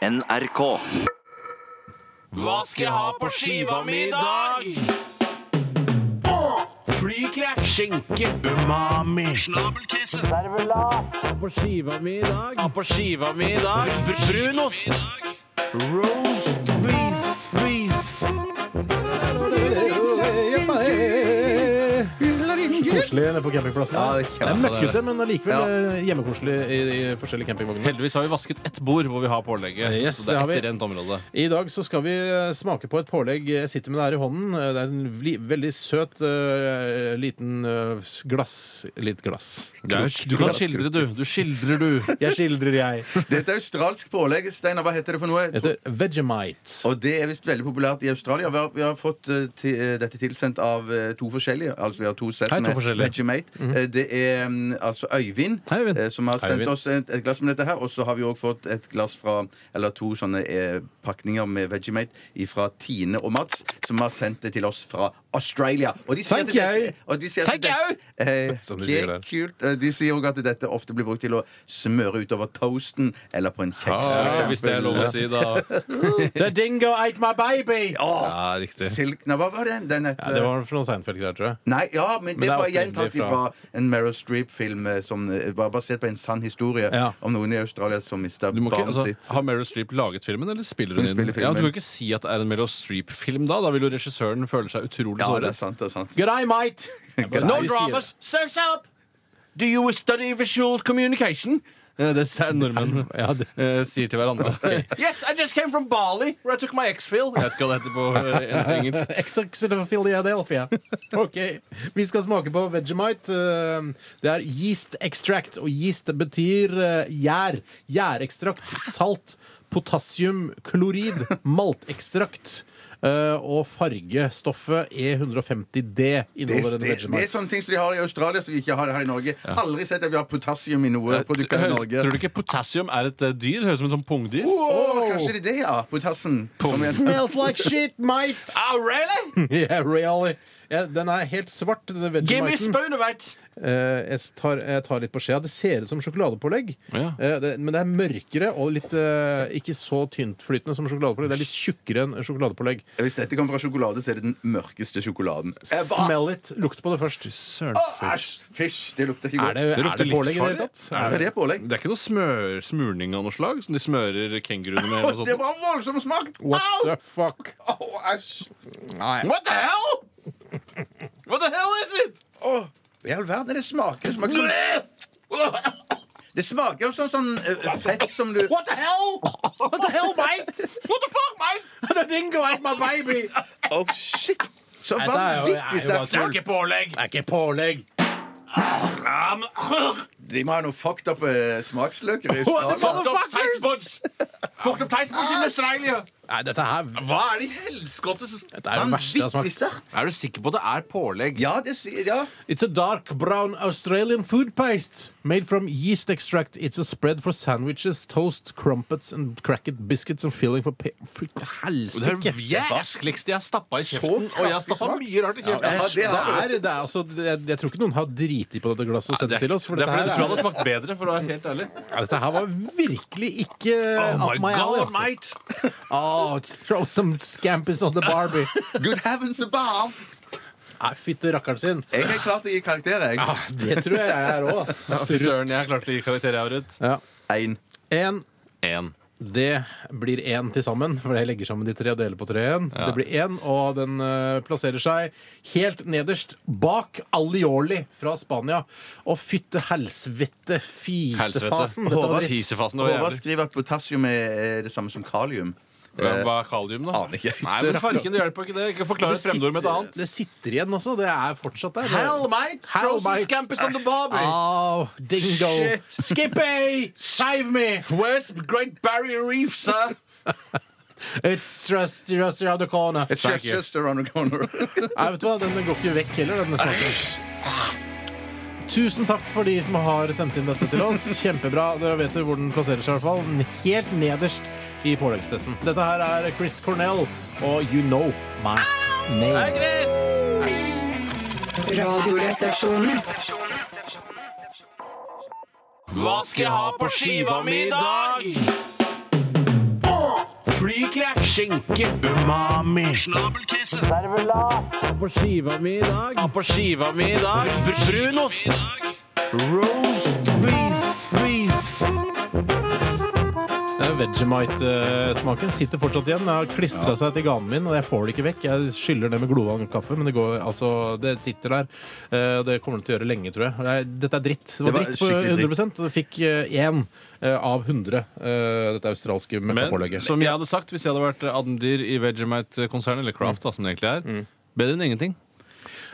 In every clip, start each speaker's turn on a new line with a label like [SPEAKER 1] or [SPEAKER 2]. [SPEAKER 1] NRK.
[SPEAKER 2] Hva skal jeg ha på skiva mi i dag? Flykreft, skinke, umami Snabelkrise, servelat På skiva mi i dag Ha på skiva mi i dag Brunost Roast beef, beef
[SPEAKER 3] Koselig nede på campingplassen.
[SPEAKER 4] Ja, det er
[SPEAKER 3] det, er møkkete, men allikevel
[SPEAKER 4] Ja.
[SPEAKER 3] eh, hjemmekoselig i, i forskjellige campingvogner.
[SPEAKER 2] Heldigvis har vi vasket ett bord hvor vi har pålegget
[SPEAKER 3] Yes,
[SPEAKER 2] Så det
[SPEAKER 3] det
[SPEAKER 2] er
[SPEAKER 3] har vi.
[SPEAKER 2] et rent område
[SPEAKER 3] I dag så skal vi eh, smake på et pålegg. Jeg sitter med det her i hånden. Eh, Det er en li- veldig søt eh, liten eh, s- glass Litt glass.
[SPEAKER 2] Du kan skildre du, du skildrer du
[SPEAKER 3] Jeg skildrer, jeg.
[SPEAKER 4] Det er et australsk pålegg. Steinar, hva heter det for noe?
[SPEAKER 3] Det heter Vegemite.
[SPEAKER 4] Og det er visst veldig populært i Australia. Vi har, vi har fått eh, ti- eh, dette tilsendt av eh, to forskjellige. Altså vi har to sett
[SPEAKER 2] Hei, to
[SPEAKER 4] med
[SPEAKER 2] forskjellige. Mhm.
[SPEAKER 4] Vegemate. Eh, Det er mm, altså Øyvind,
[SPEAKER 2] Hei, Øyvind.
[SPEAKER 4] eh, som har
[SPEAKER 3] Hei,
[SPEAKER 4] sendt
[SPEAKER 3] Øyvind.
[SPEAKER 4] oss et, et glass med dette her. Og så har vi òg fått et glass fra Eller to sånne eh, pakninger med Vegemate fra Tine og Mats, som har sendt det til oss fra Australia. Og de
[SPEAKER 3] Thank you.
[SPEAKER 4] og de sier
[SPEAKER 2] Thank you.
[SPEAKER 4] Eh,
[SPEAKER 3] Som de sier
[SPEAKER 4] det er
[SPEAKER 3] der.
[SPEAKER 4] kult. Eh, De sier òg at dette ofte blir brukt til å smøre utover toasten eller på en kjeks. for
[SPEAKER 2] Ja,
[SPEAKER 4] eksempel.
[SPEAKER 2] Ah, Hvis det er lov å si da
[SPEAKER 3] The dingo ate my baby!
[SPEAKER 2] Ja, riktig
[SPEAKER 4] Silk Nei, hva var den? Den het
[SPEAKER 3] Ja, det var for noen Seinfeld-greier, tror jeg.
[SPEAKER 4] Nei, ja, men det
[SPEAKER 3] det er
[SPEAKER 4] var
[SPEAKER 3] opprinnelig
[SPEAKER 4] gjentatt fra
[SPEAKER 3] fra-
[SPEAKER 4] en Meryl Streep-film eh, som eh, var basert på en sann historie
[SPEAKER 3] Ja.
[SPEAKER 4] om noen i Australia som mista
[SPEAKER 2] Du må ikke,
[SPEAKER 4] barnet
[SPEAKER 2] altså,
[SPEAKER 4] sitt.
[SPEAKER 2] har Meryl Streep laget filmen, eller spiller hun,
[SPEAKER 4] Hun
[SPEAKER 2] i den?
[SPEAKER 4] spiller
[SPEAKER 2] Ja,
[SPEAKER 4] filmen.
[SPEAKER 2] du kan ikke si at det er en Meryl Streep-film da. Da vil jo regissøren føle seg utrolig
[SPEAKER 4] Ja, det er
[SPEAKER 2] såret.
[SPEAKER 4] sant. det er sant
[SPEAKER 3] Good eye, mate!
[SPEAKER 2] No dramas! Surf's up! Do you study visual communication? Eh, Det er nordmenn
[SPEAKER 3] Ja, det-
[SPEAKER 2] eh, sier til hverandre. Yes, I just came from Bali, where I took my X-Fill. Jeg vet ikke hva det heter på eh, engelsk.
[SPEAKER 3] Philadelphia. Ok, Vi skal smake på Vegemite. Eh, Det er yeast extract, og yeast betyr eh, gjær. Gjærekstrakt, salt, potassiumklorid, maltekstrakt. eh, og fargestoffet E E150D
[SPEAKER 4] det,
[SPEAKER 3] inneholder en
[SPEAKER 4] det, det er sånn-
[SPEAKER 3] Vegemite.
[SPEAKER 4] sånne ting som de har i Australia som vi ikke har her i Norge. Aldri sett at vi har potassium i noe produkt her i
[SPEAKER 2] Eh, Høres-
[SPEAKER 4] Norge.
[SPEAKER 2] Tror du ikke potassium er et eh, dyr? Høres ut som et sånt pungdyr.
[SPEAKER 4] Å, kanskje det er det, ja. Potassen. Kom igjen.
[SPEAKER 3] Smells like shit, mate!
[SPEAKER 4] Ah,
[SPEAKER 2] Oh, really?
[SPEAKER 3] Yeah, really. Ja, den er helt svart, denne Vegemiten.
[SPEAKER 2] spoonabite.
[SPEAKER 3] Eh, jeg, tar, jeg tar litt på skjea. Det ser ut som sjokoladepålegg,
[SPEAKER 2] Ja.
[SPEAKER 3] Eh, det, men det er mørkere og litt eh, ikke så tyntflytende som sjokoladepålegg. Det er litt tjukkere enn sjokoladepålegg.
[SPEAKER 4] Hvis dette kommer fra sjokolade, så er det den mørkeste sjokoladen. Eh, hva?
[SPEAKER 3] Smell it. Lukt på det først.
[SPEAKER 2] Søren.
[SPEAKER 4] Æsj! Fysj! Det lukter ikke
[SPEAKER 3] Er
[SPEAKER 4] godt.
[SPEAKER 3] det,
[SPEAKER 2] Det
[SPEAKER 3] er
[SPEAKER 2] lukter
[SPEAKER 3] det pålegg i det
[SPEAKER 2] livsfarlig.
[SPEAKER 3] hele tatt?
[SPEAKER 4] Er det det pålegg?
[SPEAKER 2] Det er ikke noe smør, smurning av noe slag som de smører kenguruene med? Eller
[SPEAKER 4] Å,
[SPEAKER 2] noe
[SPEAKER 4] Det
[SPEAKER 2] sånt.
[SPEAKER 4] var voldsom smak!
[SPEAKER 3] sånn- What the fuck?
[SPEAKER 4] Au! Æsj!
[SPEAKER 2] What the hell? What the hell is it?
[SPEAKER 4] Åh, I all verden, det smaker Det smaker, som, det smaker jo sånn, sånn eh, fett som du
[SPEAKER 3] What the hell? What the hell, mate? What the fuck, mate? The dingo ate my baby.
[SPEAKER 4] Oh, shit! Så
[SPEAKER 3] Nei, det er jo- det er jo
[SPEAKER 4] vanvittig
[SPEAKER 3] bare
[SPEAKER 4] sterkt. smak.
[SPEAKER 2] ikke pålegg.
[SPEAKER 3] Det er ikke pålegg.
[SPEAKER 4] De må ha noe fucked up eh, smaksløker i
[SPEAKER 3] What the
[SPEAKER 4] Australia.
[SPEAKER 3] motherfuckers?
[SPEAKER 2] Fucked up tasteboards in Australia.
[SPEAKER 3] Nei, dette her
[SPEAKER 2] Ah. Hva er det i helskottes
[SPEAKER 3] det er det verste jeg har
[SPEAKER 4] Vanvittig
[SPEAKER 3] smakt.
[SPEAKER 4] sterkt.
[SPEAKER 2] Er du sikker på at det er pålegg?
[SPEAKER 4] Ja, det sier ja.
[SPEAKER 3] It's a dark brown Australian food paste made from yeast extract. It's a spread for sandwiches, toast, crumpets and cracked biscuits and filling for pe... Fy
[SPEAKER 2] Det er
[SPEAKER 3] helsike!
[SPEAKER 2] det vaskligste jeg har stappa i kjeften. Og jeg har stappa
[SPEAKER 4] kraftig
[SPEAKER 2] mye rart i kjeften.
[SPEAKER 4] Ja,
[SPEAKER 3] Æsj,
[SPEAKER 4] det
[SPEAKER 3] det
[SPEAKER 4] har
[SPEAKER 3] er, det er altså, jeg, jeg tror ikke noen har driti på dette glasset og sendt
[SPEAKER 2] det er,
[SPEAKER 3] det til oss. For
[SPEAKER 2] det er fordi du tror det
[SPEAKER 3] dette, her
[SPEAKER 2] hadde
[SPEAKER 3] er,
[SPEAKER 2] smakt bedre, for å være helt ærlig.
[SPEAKER 3] ja, dette her var virkelig ikke
[SPEAKER 2] Oh
[SPEAKER 3] up
[SPEAKER 1] Oh
[SPEAKER 3] my alley, altså.
[SPEAKER 2] mate.
[SPEAKER 3] Oh, throw some scampis on the barbie.
[SPEAKER 4] Good heavens above!
[SPEAKER 3] Nei, fytte rakkeren sin.
[SPEAKER 4] Jeg er klar til å gi karakter, jeg.
[SPEAKER 3] Det tror jeg jeg er òg,
[SPEAKER 2] Fy
[SPEAKER 3] ass.
[SPEAKER 2] søren, jeg klarte å gi karakter, jeg, Aurut.
[SPEAKER 3] Ja.
[SPEAKER 4] En.
[SPEAKER 3] En
[SPEAKER 2] Én.
[SPEAKER 3] Det blir én til sammen, for jeg legger sammen de tre og deler på tre igjen. Det blir én, og den eh, plasserer seg helt nederst bak Alioli fra Spania. Og fytte helsvette, fisefasen! Dette var dritt.
[SPEAKER 2] Fisefasen. Det var
[SPEAKER 4] Håvard
[SPEAKER 2] jævlig.
[SPEAKER 4] skriver at potassium er er det samme som kalium. Eh,
[SPEAKER 2] Ja,
[SPEAKER 1] eh,
[SPEAKER 2] Hva er kalium, da?
[SPEAKER 4] Aner ikke.
[SPEAKER 2] Nei, men farken, det hjelper ikke det. Ikke forklar et fremdord med et annet.
[SPEAKER 3] det sitter igjen også. Det er fortsatt der.
[SPEAKER 2] mate!
[SPEAKER 3] Hell, mate.
[SPEAKER 2] scampers on the barbie!
[SPEAKER 3] Au, dingo!
[SPEAKER 2] Shit.
[SPEAKER 3] Skippy! Save me!
[SPEAKER 2] Where's the Great Barrier Reef, sir?
[SPEAKER 3] It's just, just around the corner.
[SPEAKER 4] It's just,
[SPEAKER 2] you.
[SPEAKER 4] just around the corner.
[SPEAKER 3] Nei, vet du hva? Den går ikke vekk heller, denne smaken. Tusen takk for de som har sendt inn dette til oss. Kjempebra. Dere vet jo hvor den plasserer seg, i hvert fall. Helt nederst i påleggstesten. Dette her er Chris Cornell og You Know My Name.
[SPEAKER 5] Radioresepsjonen.
[SPEAKER 2] Hva skal jeg ha på skiva mi i dag? Løykrek, skinke, umami, snabelkese, servelat. På skiva mi i dag. Ja, på skiva mi i dag. Br- Brunost. Roast beef, beef.
[SPEAKER 3] Eh, Vegemite-smaken sitter fortsatt igjen. Den har klistra seg til ganen min, og jeg får det ikke vekk. Jeg skyller det med glovarm kaffe, men det går altså Det sitter der. Eh, og Det kommer det til å gjøre lenge, tror jeg. Det er, dette er dritt. Det var,
[SPEAKER 4] Det var
[SPEAKER 3] dritt på
[SPEAKER 4] skikkelig
[SPEAKER 3] 100
[SPEAKER 4] dritt.
[SPEAKER 3] og det fikk eh, én eh, av 100, eh, dette australske
[SPEAKER 1] Men
[SPEAKER 3] møkkapålegget.
[SPEAKER 1] som jeg hadde sagt hvis jeg hadde vært Adendyr i Vegemite-konsernet, eller Craft, da, som det egentlig er, bedre enn ingenting.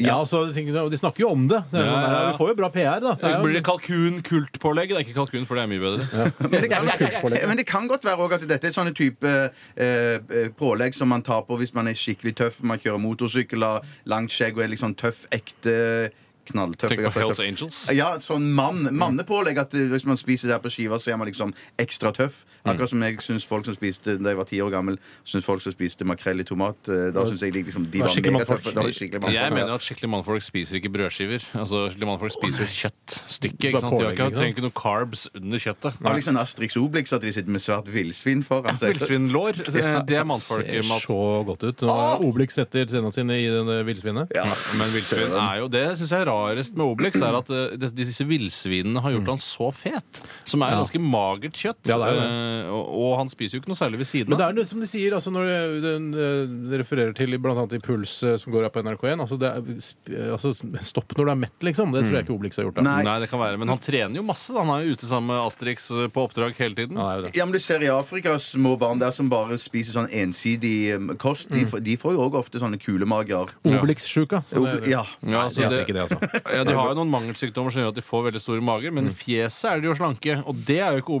[SPEAKER 3] Ja, altså, de tenker- de snakker jo om det. Det er jo
[SPEAKER 1] Ja,
[SPEAKER 3] sånn,
[SPEAKER 1] ja, ja.
[SPEAKER 3] "Nei, Vi får jo bra PR, da. Det
[SPEAKER 1] Det
[SPEAKER 3] er jo
[SPEAKER 1] blir det kalkun-kultpålegg? Det er ikke kalkun, for det er mye bedre.
[SPEAKER 4] Men det kan,
[SPEAKER 3] Det er kult pålegg.
[SPEAKER 4] men det kan godt være også at dette er sånne type eh, eh, pålegg som man tar på hvis man er skikkelig tøff, man kjører motorsykkel, har langt skjegg og er liksom tøff, ekte knalltøff.
[SPEAKER 1] Tenk
[SPEAKER 4] jeg
[SPEAKER 1] på
[SPEAKER 4] har sagt
[SPEAKER 1] Hells
[SPEAKER 4] tøff.
[SPEAKER 1] Angels.
[SPEAKER 4] Ja, sånn mann, mannepålegg at eh, hvis man spiser det her på skiva, så er man liksom ekstra tøff.
[SPEAKER 1] Mm.
[SPEAKER 4] Akkurat som jeg syns folk som spiste da jeg var ti år gammel, synes folk som spiste makrell i tomat eh, Da syns jeg de liksom de
[SPEAKER 3] var
[SPEAKER 4] var,
[SPEAKER 3] skikkelig mannfolk.
[SPEAKER 4] megatøffe. Da var de skikkelig mannfolk,
[SPEAKER 1] Jeg
[SPEAKER 4] ja.
[SPEAKER 1] mener at skikkelig mannfolk spiser ikke brødskiver. Altså, skikkelig mannfolk spiser kjøttstykke. Ikke sant? De har
[SPEAKER 3] pålegg, ikke
[SPEAKER 1] ikke,
[SPEAKER 3] sant?
[SPEAKER 1] trenger ikke noe carbs under kjøttet.
[SPEAKER 4] Det var liksom Astrix Obelix at de sitter med svært villsvin foran seg.
[SPEAKER 1] Villsvinlår, eh, det- det
[SPEAKER 3] ser
[SPEAKER 1] er mannfolkmat.
[SPEAKER 3] så godt ut. Når Obelix setter tenna sine i denne villsvinet.
[SPEAKER 4] Ja,
[SPEAKER 1] Men villsvin er jo Det syns jeg er rarest med Obelix, er at eh, det- disse villsvinene har gjort han så fet. Som er ganske magert
[SPEAKER 3] Mm.
[SPEAKER 1] kjøtt.
[SPEAKER 3] Ja, det er jo det.
[SPEAKER 1] eh, og, og han spiser jo ikke noe særlig ved siden
[SPEAKER 3] Men det
[SPEAKER 1] av.
[SPEAKER 3] er det som de sier, altså når det- den eh, det refererer til bl.a. i Puls eh, som går her på NRK1 altså, det er, sp- eh, altså stopp når du er mett, liksom. Det tror jeg ikke Obelix har gjort. Da.
[SPEAKER 4] Mm. Nei.
[SPEAKER 1] Nei, det kan være, Men han trener jo masse. da. Han er jo ute sammen med Asterix eh, på oppdrag hele tiden.
[SPEAKER 3] Ja, det er jo det.
[SPEAKER 4] Ja, men Du ser i Afrika små barn der som bare spiser sånn ensidig um, kost.
[SPEAKER 3] Mm.
[SPEAKER 4] De, f- de får jo òg ofte sånne kulemager.
[SPEAKER 3] Obelix-sjuka. som Mm. Sånn det-
[SPEAKER 4] Ja.
[SPEAKER 1] Ja,
[SPEAKER 3] Nei,
[SPEAKER 1] så
[SPEAKER 3] de heter
[SPEAKER 1] det-
[SPEAKER 3] ikke det, Mm. altså.
[SPEAKER 1] Ja, De har jo noen mangelsykdommer som gjør at de får veldig store mager, men i fjeset er de jo slanke, og det er jo ikke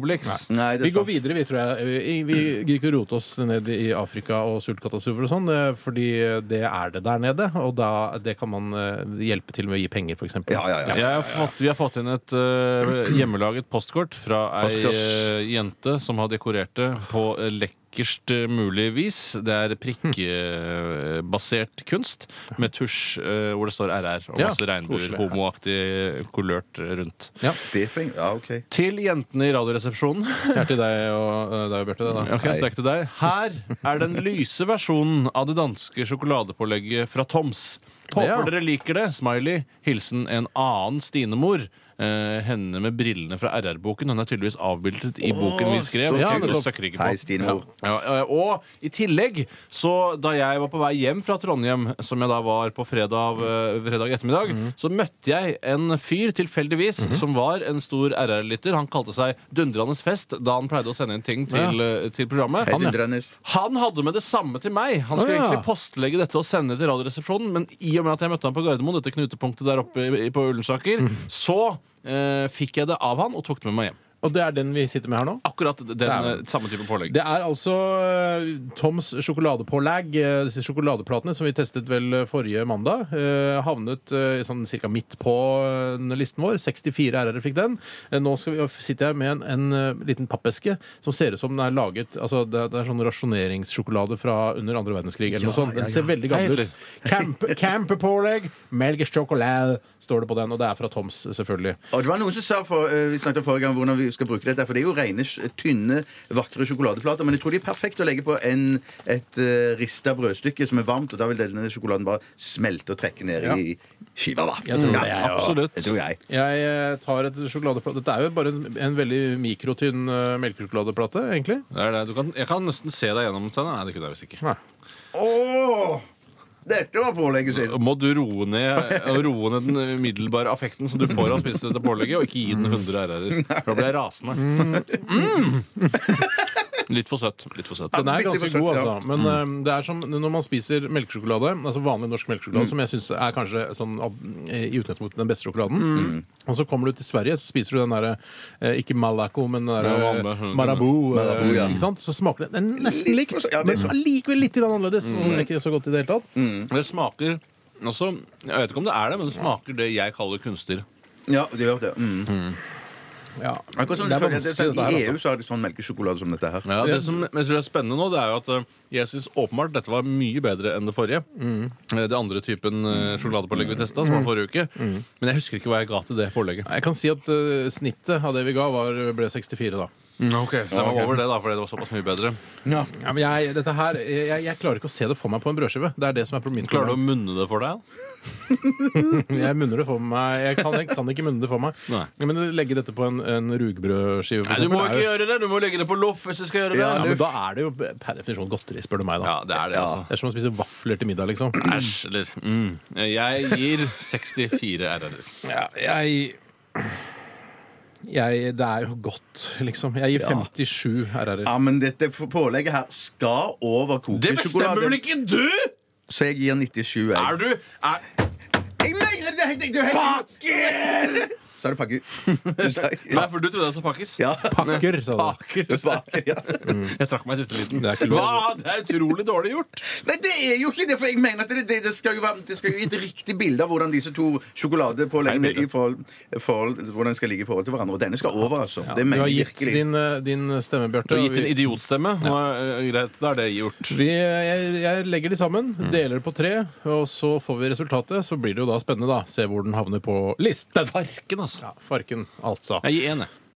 [SPEAKER 1] Obelix.
[SPEAKER 4] Nei, det
[SPEAKER 3] Vi
[SPEAKER 4] er
[SPEAKER 3] går
[SPEAKER 4] sant.
[SPEAKER 3] videre, vi, tror jeg. Vi- Vi gidder ikke å rote oss ned i Afrika og sultkatastrofer og sånn, eh, fordi det er det der nede. Og da, det kan man eh, hjelpe til med å gi penger, f.eks.
[SPEAKER 4] Ja, ja, ja.
[SPEAKER 1] Jeg har fått, vi har fått inn et eh, hjemmelaget postkort fra ei
[SPEAKER 4] Postkort.
[SPEAKER 1] eh, jente som har dekorert det på eh, lekkerst eh, mulig vis. Det er prikkebasert kunst med tusj eh, hvor det står RR og
[SPEAKER 3] Ja,
[SPEAKER 1] masse regnbuer,
[SPEAKER 3] koselig.
[SPEAKER 1] homoaktig kolørt rundt.
[SPEAKER 4] Det trenger Ja, OK.
[SPEAKER 1] Til jentene i Radioresepsjonen.
[SPEAKER 3] Det er til deg og eh, deg og Bjarte, det, da.
[SPEAKER 1] Ok, så det er ikke til deg. Her er den lyse versjonen av det danske sjokoladepålegget fra Toms. Håper
[SPEAKER 3] Ja.
[SPEAKER 1] dere liker det. Smiley. Hilsen en annen Stine-mor. Eh, henne med brillene fra RR-boken. Hun er tydeligvis avbildet i boken vi skrev.
[SPEAKER 4] så
[SPEAKER 1] Ja,
[SPEAKER 4] kult.
[SPEAKER 1] det søkker ikke på.
[SPEAKER 4] Hei, Stine-mor.
[SPEAKER 1] Ja. Ja, eh, og i tillegg, så da jeg var på vei hjem fra Trondheim, som jeg da var på fredag, eh, fredag ettermiddag,
[SPEAKER 3] Mhm.
[SPEAKER 1] så møtte jeg en fyr tilfeldigvis som var en stor RR-lytter. Han kalte seg Dundrandes fest da han pleide å sende inn ting til, eh, til programmet.
[SPEAKER 4] Helt undrende.
[SPEAKER 1] Han hadde med det samme til meg. Han skulle
[SPEAKER 3] Å, ja.
[SPEAKER 1] egentlig postlegge dette og sende til Radioresepsjonen, men i og med at jeg møtte han på Gardermoen, dette knutepunktet der oppe i- på Ullensaker,
[SPEAKER 3] Mhm.
[SPEAKER 1] så eh, fikk jeg det av han og tok det med meg hjem.
[SPEAKER 3] Og det er den vi sitter med her nå?
[SPEAKER 1] Akkurat den
[SPEAKER 3] er-
[SPEAKER 1] eh, samme type pålegg.
[SPEAKER 3] Det er altså eh, Toms sjokoladepålegg, eh, disse sjokoladeplatene som vi testet vel eh, forrige mandag, eh, havnet eh, sånn cirka midt på eh, den listen vår. 64 RR-er fikk den. Eh, Nå skal vi, sitter jeg med en, en eh, liten pappeske som ser ut som den er laget altså Det, det er sånn rasjoneringssjokolade fra under andre verdenskrig eller noe sånt. Den ser veldig
[SPEAKER 1] Hei,
[SPEAKER 3] gammel
[SPEAKER 1] Hitler.
[SPEAKER 3] ut. Camp, campepålegg, melkesjokolade, står det på den. Og det er fra Toms, selvfølgelig.
[SPEAKER 4] Og det var noen som sa for, eh, Vi snakket om forrige gang hvordan vi skal bruke dette. For det er jo rene, sj- tynne, vakre sjokoladeplater. Men jeg tror de er perfekt å legge på en, et uh, rista brødstykke som er varmt. Og da vil denne sjokoladen bare smelte og trekke ned i skiva. da.
[SPEAKER 3] Jeg tror det, jeg
[SPEAKER 4] ja,
[SPEAKER 1] også.
[SPEAKER 4] Det tror jeg.
[SPEAKER 3] Jeg eh, tar et sjokoladeplate Dette er jo bare en, en veldig mikrotynn eh, melkesjokoladeplate, egentlig.
[SPEAKER 1] Det er det. Du kan, jeg kan nesten se deg gjennom scenen. Nei, det kunne jeg visst ikke.
[SPEAKER 4] Åh! Dette var pålegget sitt.
[SPEAKER 1] Må du roe ned, roe ned den umiddelbare affekten som du får av å spise dette pålegget, og ikke gi den 100 RR-er. For da blir jeg rasende. Mm. Litt for søtt. Litt for søtt.
[SPEAKER 3] Den er
[SPEAKER 4] Bitte
[SPEAKER 3] ganske
[SPEAKER 4] litt
[SPEAKER 3] god,
[SPEAKER 4] forsøkt,
[SPEAKER 3] altså. Men eh, det er som når man spiser melkesjokolade, altså vanlig norsk melkesjokolade,
[SPEAKER 4] Mm.
[SPEAKER 3] som jeg syns er kanskje sånn, av- i utgangspunktet den beste sjokoladen,
[SPEAKER 4] Mm.
[SPEAKER 3] og så kommer du til Sverige, så spiser du den derre eh, Ikke Malaco, men den
[SPEAKER 1] Ja,
[SPEAKER 3] derre
[SPEAKER 1] vanlig.
[SPEAKER 3] Marabou. eh,
[SPEAKER 4] Marabou, ja.
[SPEAKER 3] Ikke sant? Så smaker den, den er nesten
[SPEAKER 4] Litt
[SPEAKER 3] likt,
[SPEAKER 4] for- ja, det
[SPEAKER 3] men
[SPEAKER 4] er sånn. Mm. sant.
[SPEAKER 3] allikevel litt grann annerledes. Og den er ikke så godt i det hele tatt.
[SPEAKER 1] Det smaker også, Jeg vet ikke om det er det, men det smaker det jeg kaller kunstdyr.
[SPEAKER 4] Ja, det gjør det. Mm.
[SPEAKER 3] Ja.
[SPEAKER 4] Akkurat som
[SPEAKER 3] Det er
[SPEAKER 4] det føler jeg det er
[SPEAKER 3] vanskelig,
[SPEAKER 4] sånn,
[SPEAKER 3] dette her,
[SPEAKER 4] I
[SPEAKER 3] altså.
[SPEAKER 4] EU så har de sånn melkesjokolade som dette her.
[SPEAKER 1] Ja, det som jeg tror er spennende nå, det er jo at eh, jeg syns åpenbart dette var mye bedre enn det forrige. Eh, Det andre typen eh, sjokoladepålegg vi testa, som var forrige uke. Men jeg husker ikke hva jeg ga til det pålegget.
[SPEAKER 3] Jeg kan si at eh, snittet av det vi ga, var, ble 64, da.
[SPEAKER 1] Ok, Så jeg var over det, da, fordi det var såpass mye bedre.
[SPEAKER 3] Ja, men jeg, dette her, jeg, jeg klarer ikke å se det for meg på en brødskive. Det er det som er problemet.
[SPEAKER 1] Klarer du å munne det for deg?
[SPEAKER 3] Jeg munner det for meg. Jeg kan, jeg kan ikke munne det for meg.
[SPEAKER 1] Nei.
[SPEAKER 3] Men legge dette på en, en rugbrødskive, for
[SPEAKER 1] Nei, du
[SPEAKER 3] eksempel,
[SPEAKER 1] må
[SPEAKER 3] er
[SPEAKER 1] ikke
[SPEAKER 3] jo-
[SPEAKER 1] gjøre det! Du må legge det på loff hvis du skal gjøre det.
[SPEAKER 3] ja, men da er det jo per definisjon godteri, spør du meg, da.
[SPEAKER 1] Ja, det er det, altså.
[SPEAKER 3] Det er som å spise vafler til middag, liksom.
[SPEAKER 1] Æsj, eller mm. Jeg gir 64 RR-er.
[SPEAKER 3] Ja, jeg jeg, det er jo godt, liksom. Jeg gir 57 RR-er.
[SPEAKER 4] Ja, men dette f- pålegget her skal over
[SPEAKER 1] Det bestemmer vel
[SPEAKER 4] kokesjokolade.
[SPEAKER 1] ikke du?!
[SPEAKER 4] Så jeg gir 97. Jeg.
[SPEAKER 1] Er du er,
[SPEAKER 4] Jeg mener det! det- det- det- Sa du pakke? Du sa-
[SPEAKER 1] Nei, for du trodde jeg sa pakkis.
[SPEAKER 4] Ja.
[SPEAKER 3] Pakker, sa du.
[SPEAKER 1] Pakker.
[SPEAKER 4] Pakke, ja.
[SPEAKER 1] Jeg trakk meg i siste liten.
[SPEAKER 3] Det er ikke lov.
[SPEAKER 1] Hva? Det er utrolig dårlig gjort!
[SPEAKER 4] Nei, det er jo ikke det, for jeg mener at det, det, det, skal, jo være, det skal jo gi et riktig bilde av hvordan disse to sjokoladepåleggene
[SPEAKER 1] Feil bilde.
[SPEAKER 4] i forhold, forhold, hvordan de skal ligge i forhold til hverandre. Og denne skal over, altså. Det
[SPEAKER 3] Du
[SPEAKER 4] mener
[SPEAKER 3] har
[SPEAKER 4] jeg
[SPEAKER 3] gitt
[SPEAKER 4] virkelig.
[SPEAKER 3] din, eh, din stemme, Bjarte.
[SPEAKER 1] Du har
[SPEAKER 3] og
[SPEAKER 1] gitt en
[SPEAKER 3] vi-
[SPEAKER 1] idiotstemme. Nå er, eh, greit, da er det gjort.
[SPEAKER 3] Vi, jeg, jeg legger de sammen, deler det på tre, og så får vi resultatet. Så blir det jo da spennende, da. Se hvor den havner på listeverket.
[SPEAKER 1] Farken, altså.
[SPEAKER 3] Ja, farken, altså.
[SPEAKER 1] Jeg gir én, jeg.